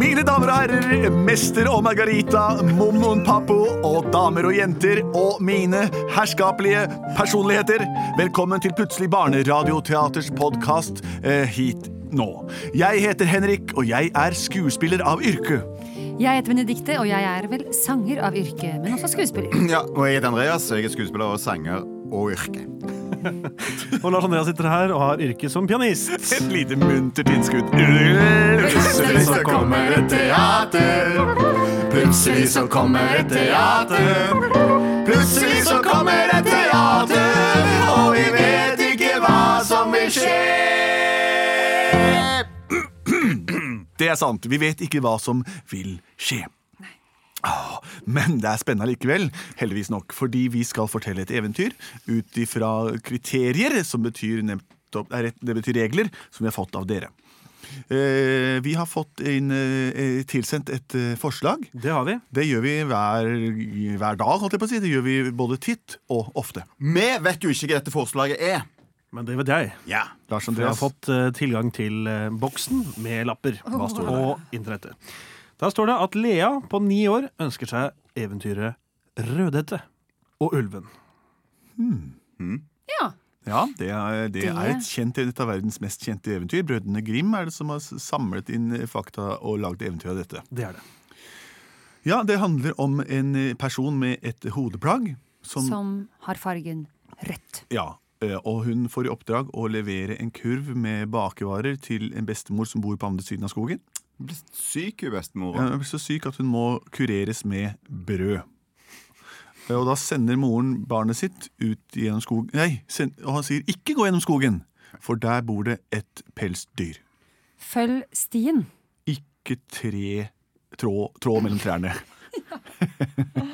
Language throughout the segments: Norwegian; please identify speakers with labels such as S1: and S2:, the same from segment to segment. S1: Mine damer og herrer, mester og Margarita, mommoen Papo og damer og jenter og mine herskapelige personligheter. Velkommen til Plutselig barneradioteaters podkast eh, hit nå. Jeg heter Henrik, og jeg er skuespiller av yrke.
S2: Jeg heter Benedikte, og jeg er vel sanger av yrke, men også skuespiller.
S3: Ja, og jeg heter Andreas, og jeg er skuespiller og sanger og yrke.
S4: Og Lars Andreas sitter her og har yrke som pianist.
S1: Et lite muntert innskudd. Plutselig
S2: så kommer et
S3: teater. Plutselig så kommer et teater. Plutselig så kommer et teater, og vi vet ikke hva som vil skje.
S1: Det er sant. Vi vet ikke hva som vil skje. Åh, Men det er spennende likevel, heldigvis nok, fordi vi skal fortelle et eventyr ut ifra kriterier, som betyr, nettopp, nei, rett- det betyr regler, som vi har fått av dere. Eh, Vi har fått inn, eh, eh, tilsendt et eh, forslag.
S4: Det har vi.
S1: Det gjør vi hver, hver dag, holdt jeg på å si. Det gjør vi både titt og ofte.
S3: Vi vet jo ikke hva dette forslaget er.
S4: Men det vet jeg.
S3: Ja.
S1: Lars
S4: For jeg
S1: Andreas.
S4: har fått eh, tilgang til eh, boksen med lapper
S1: Hva står det?
S4: og internettet. Der står det at Lea på ni år ønsker seg eventyret Rødhette og ulven.
S2: Ja.
S1: Ja, det er, det
S2: Det-
S1: er et kjent et av verdens mest kjente eventyr. Brødrene Grim er det som har s- samlet inn fakta og lagd eventyr av dette.
S4: Det er det.
S1: Ja, det handler om en eh, person med et hodeplagg. Som,
S2: Som har fargen rødt.
S1: Ja, eh, og hun får i oppdrag å levere en kurv med bakevarer til en bestemor som bor på andre siden av skogen.
S3: Blir syk, hun bestemora.
S1: Hun blir så syk at hun må kureres med brød. Eh, Og da sender moren barnet sitt ut gjennom skogen Nei, send, og han sier 'ikke gå gjennom skogen', for der bor det et pelsdyr.
S2: Følg stien.
S1: ikke tre tråd, tråd mellom trærne.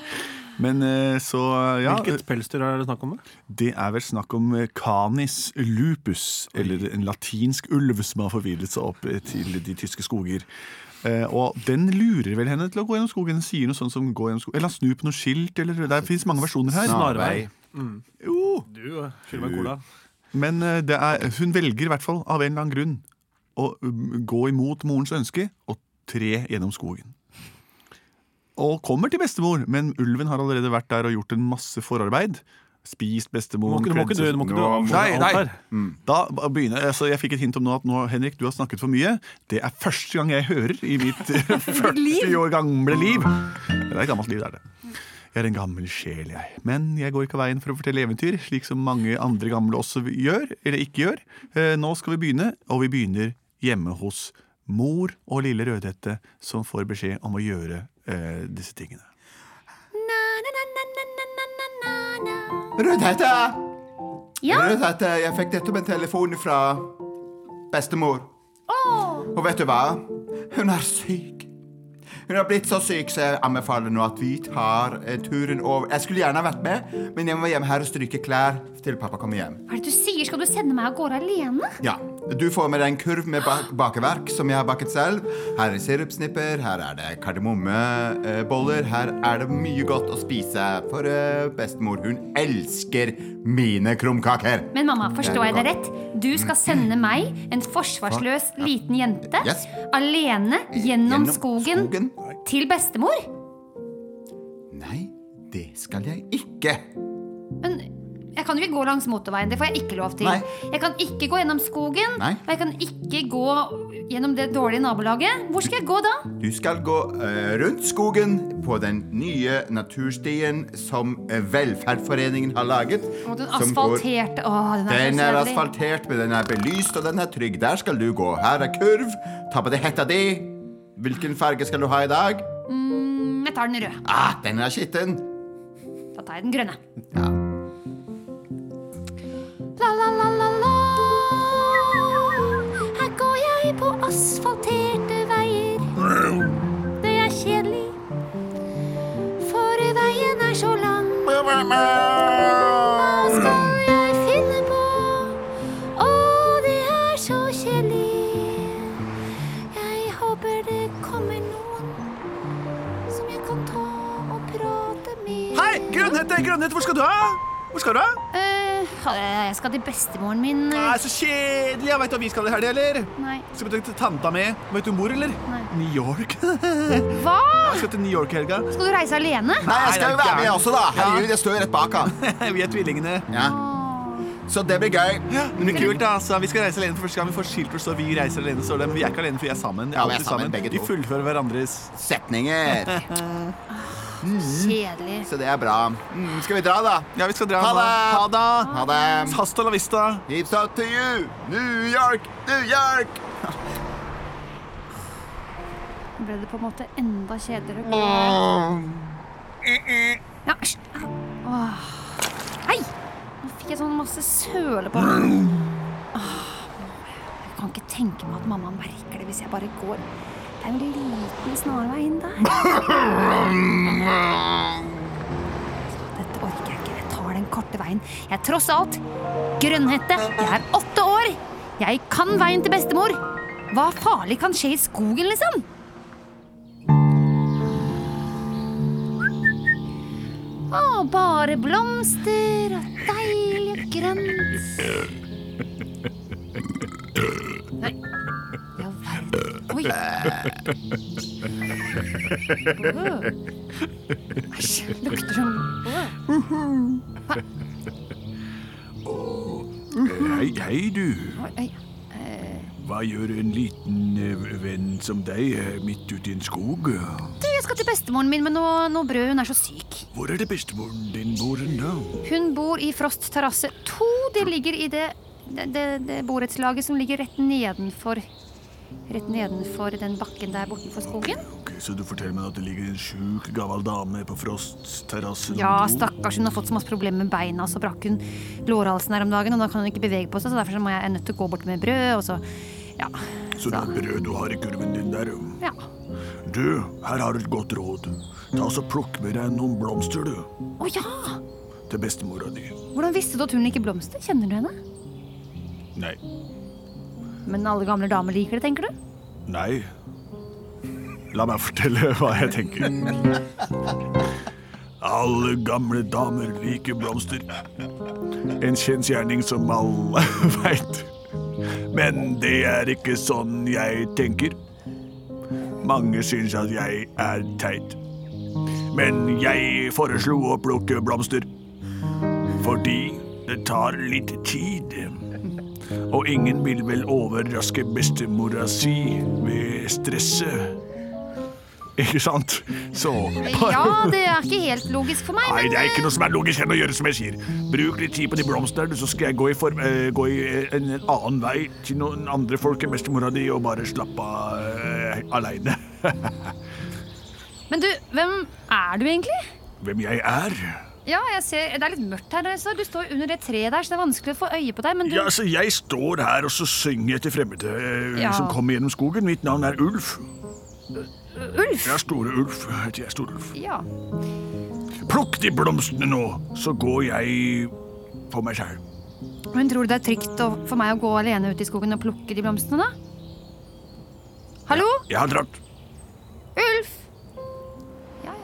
S1: Men eh, så, ja
S4: Hvilket pelsdyr er det snakk om? da?
S1: Det er vel snakk om eh, canis lupus, eller en latinsk ulv som har forvillet seg opp eh, til de tyske skoger. Eh, og den lurer vel henne til å gå gjennom skogen. Den sier noe sånt som gå gjennom skogen. Eller han snur på noe skilt, eller Det fins mange versjoner her.
S4: Snarvei.
S1: Jo,
S4: Du eh, skylder meg en cola.
S1: Men eh, det er, hun velger i hvert fall, av en eller annen grunn, å um, gå imot morens ønske og tre gjennom skogen. Og kommer til bestemor, men ulven har allerede vært der og gjort en masse forarbeid. Spist
S4: Må
S1: bestemoren
S4: ikke, må ikke du,
S1: krenset-
S4: må ikke du
S3: Nå-
S4: avsløre
S1: Nei,
S4: alt
S1: nei.
S4: her.
S1: Da begynner, altså jeg fikk et hint om nå at nå, Henrik, du har snakket for mye. Det er første gang jeg hører i mitt 40 år gamle liv. Det er et gammelt liv, det er det. Jeg er en gammel sjel, jeg. Men jeg går ikke av veien for å fortelle eventyr, slik som mange andre gamle også gjør, eller ikke gjør. Eh, Nå skal vi begynne, og vi begynner hjemme hos mor og lille Rødhette, som får beskjed om å gjøre eh, disse tingene.
S3: Rødhette!
S2: Ja.
S3: Rødhette, jeg fikk nettopp en telefon fra bestemor. Og vet du hva? Hun er syk. Hun har blitt så syk, så jeg anbefaler nå at vi tar eh, turen over. Jeg skulle gjerne vært med, men jeg må hjem her og stryke klær til pappa kommer hjem.
S2: Hva er det du sier? Skal du sende meg av gårde alene?
S3: Ja, Du får med deg en kurv med bak bakeverk som jeg har bakket selv. Her er sirupsnipper, her er det kardemommeboller. Her er det mye godt å spise. For eh, bestemor, hun elsker mine krumkaker.
S2: Men mamma, forstår jeg det
S3: Det er
S2: rett? Du skal sende meg, en forsvarsløs liten jente,
S3: Yes.
S2: alene gjennom
S3: Gjennom
S2: skogen
S3: skogen?
S2: til bestemor?
S3: Nei, det skal jeg ikke.
S2: Men jeg kan jo ikke gå langs motorveien. Det får jeg ikke lov til.
S3: Nei.
S2: Jeg kan ikke gå gjennom skogen.
S3: Nei.
S2: Og jeg kan ikke gå gjennom det dårlige nabolaget. Hvor skal jeg gå da?
S3: Du skal gå eh, rundt skogen på den nye naturstien som eh, Velferdsforeningen har laget.
S2: Og den
S3: som går-
S2: asfalterte Åh, den er,
S3: Den
S2: så
S3: er
S2: kjedelig.
S3: asfaltert, men den er belyst, og den er trygg. Der skal du gå. Her er kurv. Ta på deg hetta di. Hvilken farge skal du ha i dag?
S2: Mm, Jeg tar den røde.
S3: Ah, den er skitten.
S2: Da tar jeg den grønne.
S3: Ja.
S2: La, la, la, la, la. Her går jeg på asfalterte veier. Det er kjedelig, for veien er så lang. Hva skal jeg finne på? Å, det er så kjedelig. Jeg håper det kommer noen som jeg kan ta og prate med.
S1: Hei, Grønnhette! Grønnhette, hvor skal du? ha? Hvor skal du? ha?
S2: Eh, Jeg skal til bestemoren min.
S1: Nei, så kjedelig! Jeg veit hva vi skal i helga, eller?
S2: Nei.
S1: Skal vi til tanta mi? Vet du hvor hun bor, eller?
S2: Nei.
S1: New York. jeg
S2: Hva?
S1: skal til New York i helga.
S2: Skal du reise alene?
S3: Nei, jeg skal jo
S1: Nei, det er
S3: være med
S1: gærent.
S3: også, da.
S1: Ja.
S3: Herregud, jeg står jo rett bak han.
S1: Vi er tvillingene.
S3: Ja.
S2: Åh.
S3: Så det blir gøy.
S1: Men det blir kult, da. altså. Vi skal reise alene for første gang. Vi får skilt hvor det står 'Vi reiser alene', står det. Men vi er ikke alene, for vi er sammen.
S3: Ja, vi er sammen, begge
S1: Vi
S3: to.
S1: fullfører hverandres
S3: Setninger.
S2: Kjedelig.
S3: Så det er bra. Mm, skal vi dra, da?
S1: Ja, vi skal dra.
S3: Ha
S1: nå.
S3: det!
S1: Ha det!
S3: Ha det.
S1: Hasta la vista.
S3: It's up to you. New York, New York.
S2: Ble det på en måte enda kjedeligere?
S3: Åh.
S2: Ja, æsj. Au. Åh. Hei! Nå fikk jeg sånn masse søle på meg. Åh, Jeg kan ikke tenke meg at mamma merker det hvis jeg bare går. Det er en liten snarvei inn der. Dette orker jeg ikke. Jeg tar den korte veien. Jeg er tross alt grønnhette. Jeg er åtte år. Jeg kan veien til bestemor. Hva farlig kan skje i skogen, liksom? Å, bare blomster og deilig og grønt. Nei, i all verden. Oi. Øh. Æsj, lukter som øh.
S1: Hei, hei, du.
S2: Oi, oi. Eh.
S1: Hva gjør en liten eh, venn som deg eh, midt ute i en skog?
S2: Du, jeg skal til bestemoren min med noe, noe brød. Hun er så syk.
S1: Hvor er det bestemoren din bor hen, da?
S2: Hun bor i Frost terrasse 2. Det ligger i det, det, det, det borettslaget som ligger rett nedenfor Rett nedenfor den bakken der bortenfor skogen.
S1: Ok, Så du forteller meg at det ligger en sjuk gammel dame på Frosts terrasse?
S2: Ja, stakkars, hun har fått så masse problemer med beina, så brakk hun lårhalsen her om dagen, og da kan hun ikke bevege på seg, så derfor så må jeg, jeg er nødt til å gå bort med brød, og så Ja.
S1: Så det er brød du har i kurven din der. jo.
S2: ja.
S1: Du, her har du et godt råd. Ta oss og Plukk med deg noen blomster, du.
S2: Å ja!
S1: Til bestemora di.
S2: Hvordan visste du at hun liker blomster? Kjenner du henne?
S1: Nei.
S2: Men alle gamle damer liker det, tenker du?
S1: Nei. La meg fortelle hva jeg tenker. Alle gamle damer liker blomster. En kjensgjerning som alle veit. Men det er ikke sånn jeg tenker. Mange syns at jeg er teit. Men jeg foreslo å plukke blomster. Fordi det tar litt tid. Og ingen vil vel overraske bestemora si ved stresset. Ikke sant? Så
S2: Ja, det er ikke helt logisk for meg,
S1: Nei,
S2: men
S1: det er ikke noe som er logisk enn å gjøre som jeg sier. Bruk litt tid på de blomstene, så skal jeg gå i, form, eh, gå i eh, en, en annen vei til noen andre folk enn bestemora di og bare slappe av eh, aleine.
S2: eh, Men du, hvem er du egentlig?
S1: Hvem jeg er?
S2: Ja, jeg ser, Det er litt mørkt her. Så du står under det treet der, så det er vanskelig å få øye på deg. Men du,
S1: Ja, altså, jeg står her og så synger jeg til fremmede eh,
S2: Ja.
S1: som kommer gjennom skogen. Mitt navn er Ulf.
S2: Ulf
S1: Jeg er Store Ulf. heter jeg Store Ulf.
S2: Ja.
S1: Plukk de blomstene nå, så går jeg for meg sjæl.
S2: Men tror du det er trygt å, for meg å gå alene ut i skogen og plukke de blomstene, da? Hallo?
S1: Jeg har dratt.
S2: Ulf? Ja, ja.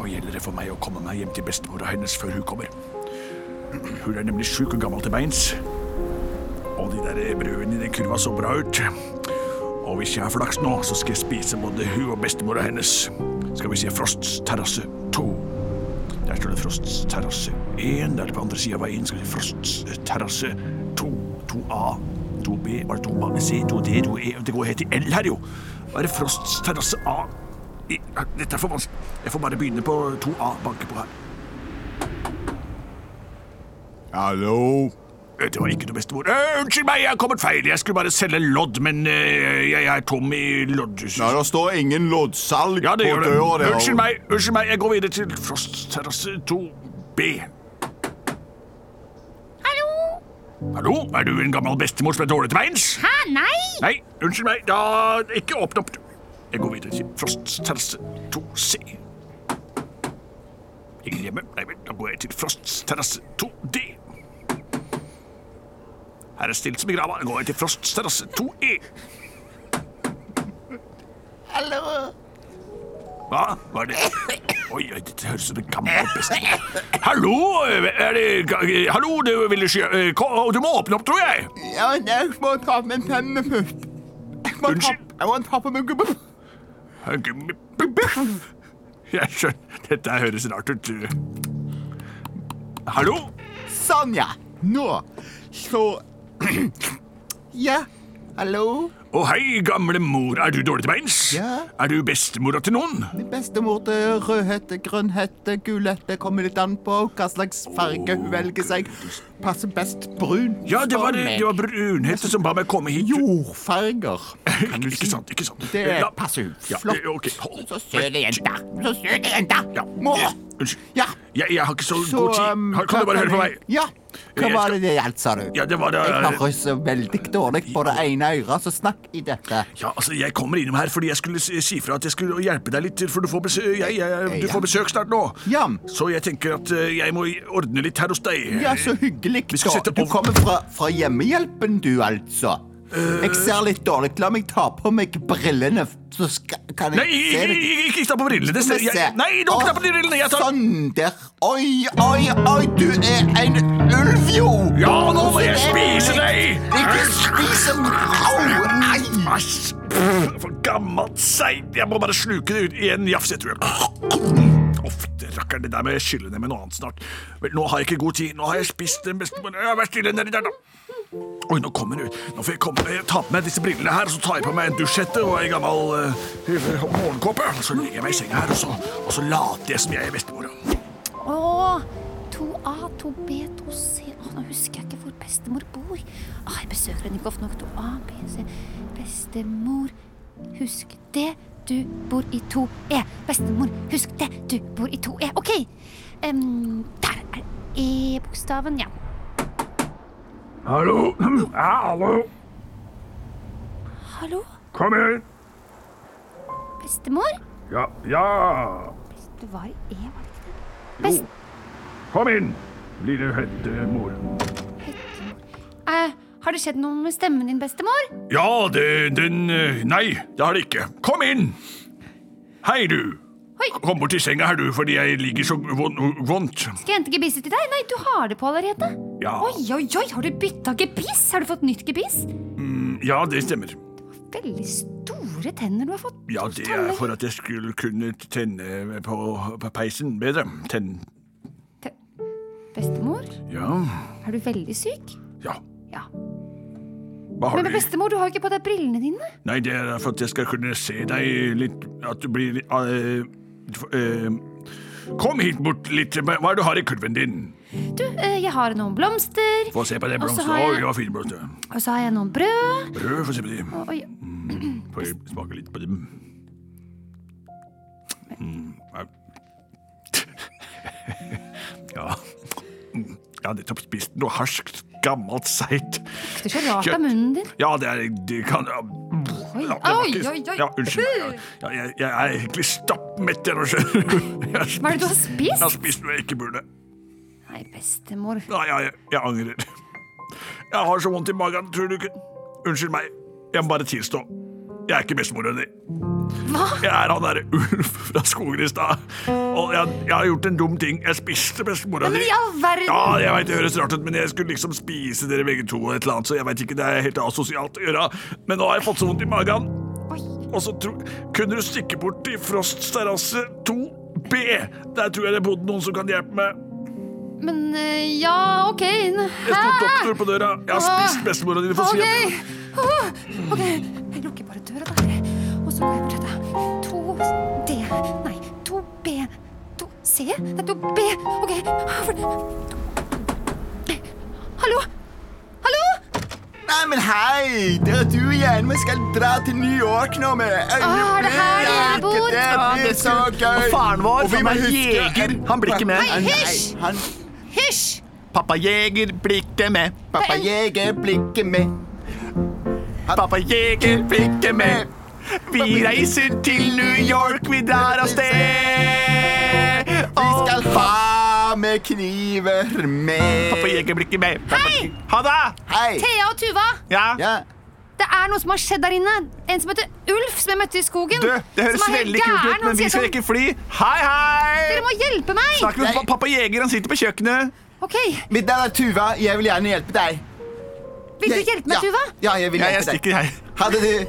S1: Nå gjelder det for meg å komme meg hjem til bestemora hennes før hun kommer. Hun er nemlig sjuk og gammel til beins. Og de der brødene i den kurva så bra ut. Og hvis jeg har flaks nå, så skal jeg spise både hun og bestemora hennes. Skal vi se Frosts terrasse to. Der står det Frosts terrasse én. Der på andre sida av veien skal vi se Frosts terrasse to. 2A, 2B, var det 2A, C, 2D, 2E E, Det går helt i L her, jo. Hva er det Frosts terrasse A? I, dette er for vanskelig. Jeg får bare begynne på 2A. Banke på her.
S3: Hallo?
S1: Det var ikke noe bestemor. Eh, unnskyld meg, jeg har kommet feil. Jeg skulle bare selge lodd, men eh, jeg er tom i loddhuset.
S3: Nei, det står ingen loddsalg
S1: Ja, det
S3: på
S1: gjør det.
S3: døra. der.
S1: Unnskyld meg, unnskyld meg. Jeg går videre til Frost terrasse 2B.
S2: Hallo?
S1: Hallo, er du en gammel bestemor som er dårlig til beins?
S2: Hæ, nei?
S1: Nei, unnskyld meg. Da ikke åpne opp. du. Jeg går videre til Frost terrasse 2C. Ingen hjemme? Nei vel, da går jeg til Frosts terrasse 2D. Her er stilt som i grava. Da går jeg til E. Frosts terrasse 2E. Hallo?
S5: Hva? Hva er det? Oi, oi, dette høres ut som en gammel bestemor. Hallo, eh, er det eh, Hallo, du ville sjø... Du må åpne opp, tror jeg.
S3: Ja, jeg må ta med en pennepupp. Jeg må ta-
S5: Unnskyld?
S3: Jeg må ta på meg gubbe.
S5: Jeg skjønner. Dette høres rart ut. Hallo?
S3: Sånn, ja. Nå. Så Ja. Hallo?
S5: Å, hei, gamle mor. Er du dårlig til beins?
S3: Ja.
S5: Er du bestemora til noen?
S3: Min bestemor til rødhette, grønnhette, gulhette kommer litt an på hva slags farge hun velger seg. Passer best brun.
S5: Ja, det var,
S3: spør meg.
S5: det var brunhette som ba meg komme hit.
S3: Jordfarger.
S5: Ikke- ikke sant. ikke sant.
S3: Det
S5: Ja.
S3: passer hun.
S5: Ja, eh,
S3: Flott.
S5: ok. Hold.
S3: Så søte jenta. Så søte jenta.
S5: Ja.
S3: Må.
S5: eh, Unnskyld.
S3: Ja.
S5: Jeg, jeg har ikke så,
S3: Så
S5: god tid.
S3: um,
S5: Kan du
S3: hva
S5: bare høre på
S3: jeg-
S5: meg?
S3: Ja. Hva
S5: Jeg
S3: var
S5: skal-
S3: det det gjaldt, sa du?
S5: Ja, det var det-
S3: Jeg hører så veldig dårlig på det ene øret, så snakk i dette.
S5: Ja, altså, Jeg kommer innom her fordi jeg skulle si si fra at jeg skulle hjelpe deg litt, for du får besøk, jeg, jeg, du
S3: Ja.
S5: får besøk snart nå.
S3: Ja.
S5: Så jeg tenker at eh, jeg må ordne litt her hos deg.
S3: Ja, så hyggelig.
S5: Vi skal
S3: da.
S5: sette
S3: Du
S5: opp-
S3: kommer fra, fra hjemmehjelpen, du, altså.
S5: Eh.
S3: Jeg ser litt dårlig. La meg ta på meg brillene, så skal, kan
S5: Nei,
S3: jeg se
S5: ikke,
S3: deg.
S5: ikke, ikke ta på brillene. Det,
S3: Skal
S5: ser-
S3: vi se.
S5: jeg, nei, nå
S3: Å,
S5: knapp på de brillene! Jeg tar
S3: Sånn der. Oi, oi, oi, du er en ulv, jo!
S5: Ja, nå må jeg
S3: Så
S5: spise
S3: deilig.
S5: deg!
S3: Ikke spise meg! Au, nei!
S5: Æsj! pff, For gammelt seint. Jeg må bare sluke det ut i en jafs, jeg tror jeg. Ofte rakker det der med skylle ned med noe annet snart. Vel, nå har jeg ikke god tid. Nå har jeg spist den beste Ja, Vær stille nedi der, da. Oi, nå kommer hun ut. Nå får jeg, komme. jeg ta på meg disse brillene her, og så tar jeg på meg en dusjhette og ei gammel eh, morgenkåpe. Så legger jeg meg i senga her, og så, og så later jeg som jeg er bestemora.
S2: Å, 2A, 2B, 2C Å, Nå husker jeg ikke hvor bestemor bor. Å, jeg besøker henne ikke ofte nok. 2A, B, C Bestemor, husk det. Du bor i 2E. Bestemor, husk det. Du bor i 2E. OK. Em, der er E-bokstaven, ja.
S5: Hallo? Hallo?
S2: Hallo,
S5: Kom her.
S2: bestemor?
S5: Ja. ja.
S2: Det var i E, var det ikke det? Best,
S5: Kom inn, lille høttemor.
S2: eh, har det skjedd noe med stemmen din, bestemor?
S5: Ja, det, den eh, Nei, det har det ikke. Kom inn! Hei, du.
S2: Hei.
S5: Kom bort til senga her, du, fordi jeg ligger så von- vondt.
S2: Skal jeg hente gebisset til deg? Nei, du har det på allerede.
S5: Ja.
S2: Oi, oi, oi, har du bytta gebiss? Har du fått nytt gebiss?
S5: Ja, det stemmer.
S2: Veldig store tenner du har fått.
S5: Ja, det er for at jeg skulle kunne tenne på, på peisen bedre. Tenn...
S2: Bestemor,
S5: Ja.
S2: er du veldig syk?
S5: Ja.
S2: Ja.
S5: Hva har
S2: Men
S5: du i?
S2: bestemor, du har jo ikke på deg brillene dine.
S5: Nei, det er for at jeg skal kunne se deg litt At du blir litt eh, f- eh, Kom hit bort litt. Hva er det du har i kurven din?
S2: Du, eh, jeg har noen blomster,
S5: Få se på det
S2: Og så
S5: blomsteret.
S2: har jeg-
S5: Oi, hva fine blomster.
S2: og så har jeg noen brød.
S5: Prøv, få se på dem.
S2: Oi,
S5: Får jeg smake litt på dem? Mm, au. Ja Mm, Jeg har nettopp spist noe harskt, gammelt, seigt.
S2: det lukter så rart
S5: Kjøtt.
S2: av munnen din.
S5: Ja, det er det kan ja,
S2: Oi,
S5: ja, det var
S2: oi,
S5: ikke-
S2: oi, oi.
S5: Ja, unnskyld. meg. Ja, jeg, jeg er egentlig stappmett, jeg nå, skjønner du. Jeg har
S2: Hva er det du har
S5: spist- Jeg har
S2: spist?
S1: Altså-
S5: spist noe jeg ikke burde.
S2: Nei, bestemor.
S5: Nei, jeg, jeg angrer. Jeg har så vondt i magen, tror du ikke? Unnskyld meg. Jeg må bare tilstå. Jeg er ikke bestemora di.
S2: Hva?
S5: Jeg er han derre ulv fra skogen i stad. Og jeg, jeg har gjort en dum ting. Jeg spiste bestemora
S2: Men
S5: di.
S2: i all verden!
S5: Ja, jeg vet, det høres rart ut, men jeg skulle liksom spise dere begge to, og et eller annet, så jeg vet ikke, det er helt asosialt å gjøre. Men nå har jeg fått så vondt i magen,
S2: Oi,
S5: og så tro, kunne du stikke bort til Frosts terrasse 2B. Der tror jeg det bodde noen som kan hjelpe meg.
S2: men eh, ja, OK.
S5: Det sto
S2: Hæ?
S5: doktor på døra. Jeg har spist bestemora di. for å si
S2: Ok.
S5: at-
S2: Åh, ok. Jeg lukker bare døra der, og så går jeg bort til To D Nei, to B. To C? Nei, to B. OK. For- Hallo? Hallo?
S3: Nei, men hei! Det er du igjen. Vi skal dra til New York nå med
S2: Å, er det her dere bor?
S3: øyeblikk. Det
S1: Ja,
S3: blir
S1: det
S3: så
S1: skulle-
S3: gøy.
S1: og faren vår,
S3: vi
S1: som
S3: må
S1: er
S3: huske-
S1: jeger, han blir ikke med.
S3: Nei,
S2: Nei, hysj!
S3: Han,
S2: Hysj!
S1: Pappa Jeger blir ikke med.
S3: pappa jeger blir ikke med.
S1: Pappa Jeger blir ikke med. Vi reiser til New York, vi drar av sted.
S3: Vi
S1: Og
S3: skal ha med kniver med.
S1: pappa Jeger blir ikke med.
S2: Hei!
S1: Ha det!
S3: Hei!
S2: Thea og Tuva,
S1: Ja.
S3: Ja.
S2: Det er noe som har skjedd der inne. En som heter Ulf, som jeg møtte i skogen.
S1: Du, det høres
S2: som er helt
S1: veldig kult
S2: gæren.
S1: ut,
S2: Han
S1: men vi
S2: sier
S1: skal
S2: sånn,
S1: rekke fly. Hei, hei!
S2: Dere må hjelpe meg!
S1: Snakk med pa- pappa Jeger, han sitter på kjøkkenet.
S2: Ok,
S3: Mitt navn er Tuva. Jeg vil gjerne hjelpe deg.
S2: Vil du
S3: Jeg-
S2: ikke hjelpe meg,
S3: ja.
S2: Tuva?
S3: Ja, jeg vil
S1: Ja, jeg
S3: hjelpe deg.
S1: stikker, jeg.
S3: Ha det du.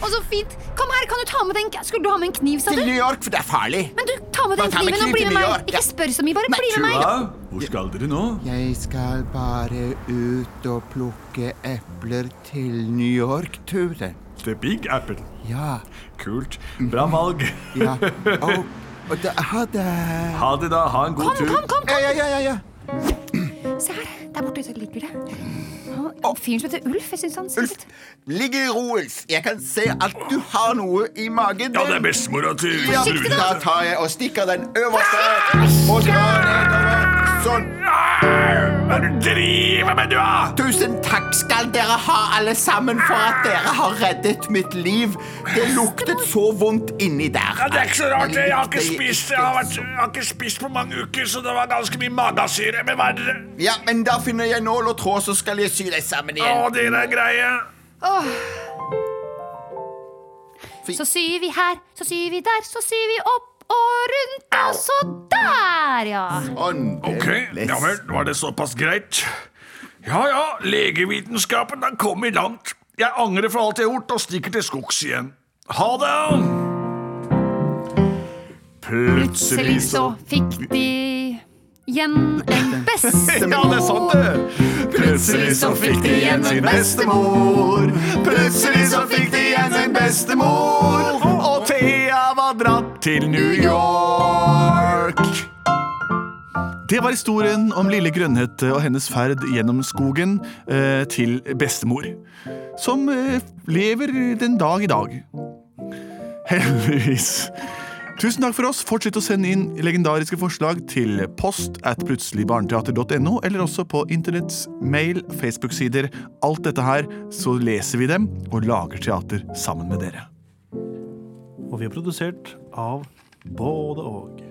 S2: Å, så fint. Kom her, kan du ta med den Skulle du ha med en kniv, sa
S3: Til
S2: du?
S3: New York, for det er farlig.
S2: Men du, ta med den
S3: Man tar med
S2: kniven og
S3: kniv
S2: bli med
S3: til New
S2: meg.
S3: York, ja.
S2: Ikke spør så mye, bare
S3: Nei,
S2: bli med meg.
S3: Tuva.
S5: Hvor skal dere nå?
S3: Jeg skal bare ut og plukke epler til New York-turen.
S5: The Big Apple.
S3: Ja.
S5: Kult. Bra valg.
S3: ja. Og, og da, ha det.
S5: Ha det, da. Ha en god
S2: Kom,
S5: tur.
S2: kom, kom.
S3: Ja, ja, ja, ja, ja.
S2: Se her, der borte ute ligger det. Han- Fyren som heter Ulf, jeg syns han ser litt
S3: Ligg i ro, Ulf. Jeg kan se at du har noe i magen.
S5: Ja, det er bestemora til
S3: Ja,
S5: Rune.
S3: da tar jeg og stikker den øverste og drar nedover. Sånn.
S5: Hva er det du driver med, du, da?
S3: Tusen takk skal dere ha, alle sammen, for at dere har reddet mitt liv. Det luktet så vondt inni der.
S5: Ja, det er ikke så rart. Jeg har ikke
S3: Det er
S5: spist
S3: ikke
S5: Jeg har, vært, jeg har ikke spist på mange uker, så det var ganske mye magasyre. Men hva er det
S3: Ja, men da finner jeg nål og tråd, så skal jeg sy deg sammen
S5: Å,
S3: igjen.
S5: dere er greie.
S2: Så syr vi her, så syr vi der, så syr vi opp og rundt, og så der, ja.
S3: Ånd,
S5: Ok,
S3: bless.
S5: ja vel, var det såpass greit? Ja ja, legevitenskapen har kommet langt. Jeg angrer for alt jeg har gjort, og stikker til skogs igjen. Ha det!
S2: Plutselig så fikk de igjen en
S1: Ja, det er sant,
S2: bestemor.
S1: det.
S2: Plutselig så fikk de igjen en
S1: bestemor. Plutselig så fikk de igjen en bestemor. Og Thea var dratt til New York. Det var historien om lille Grønnhette og hennes ferd gjennom skogen eh, til bestemor. Som eh, lever den dag i dag. Heldigvis. Tusen takk for oss. Fortsett å sende inn legendariske forslag til post at plutseligbarneteater.no, eller også på internetts mail, Facebook-sider. Alt dette her, så leser vi dem og lager teater sammen med dere.
S4: Og vi er produsert av både og.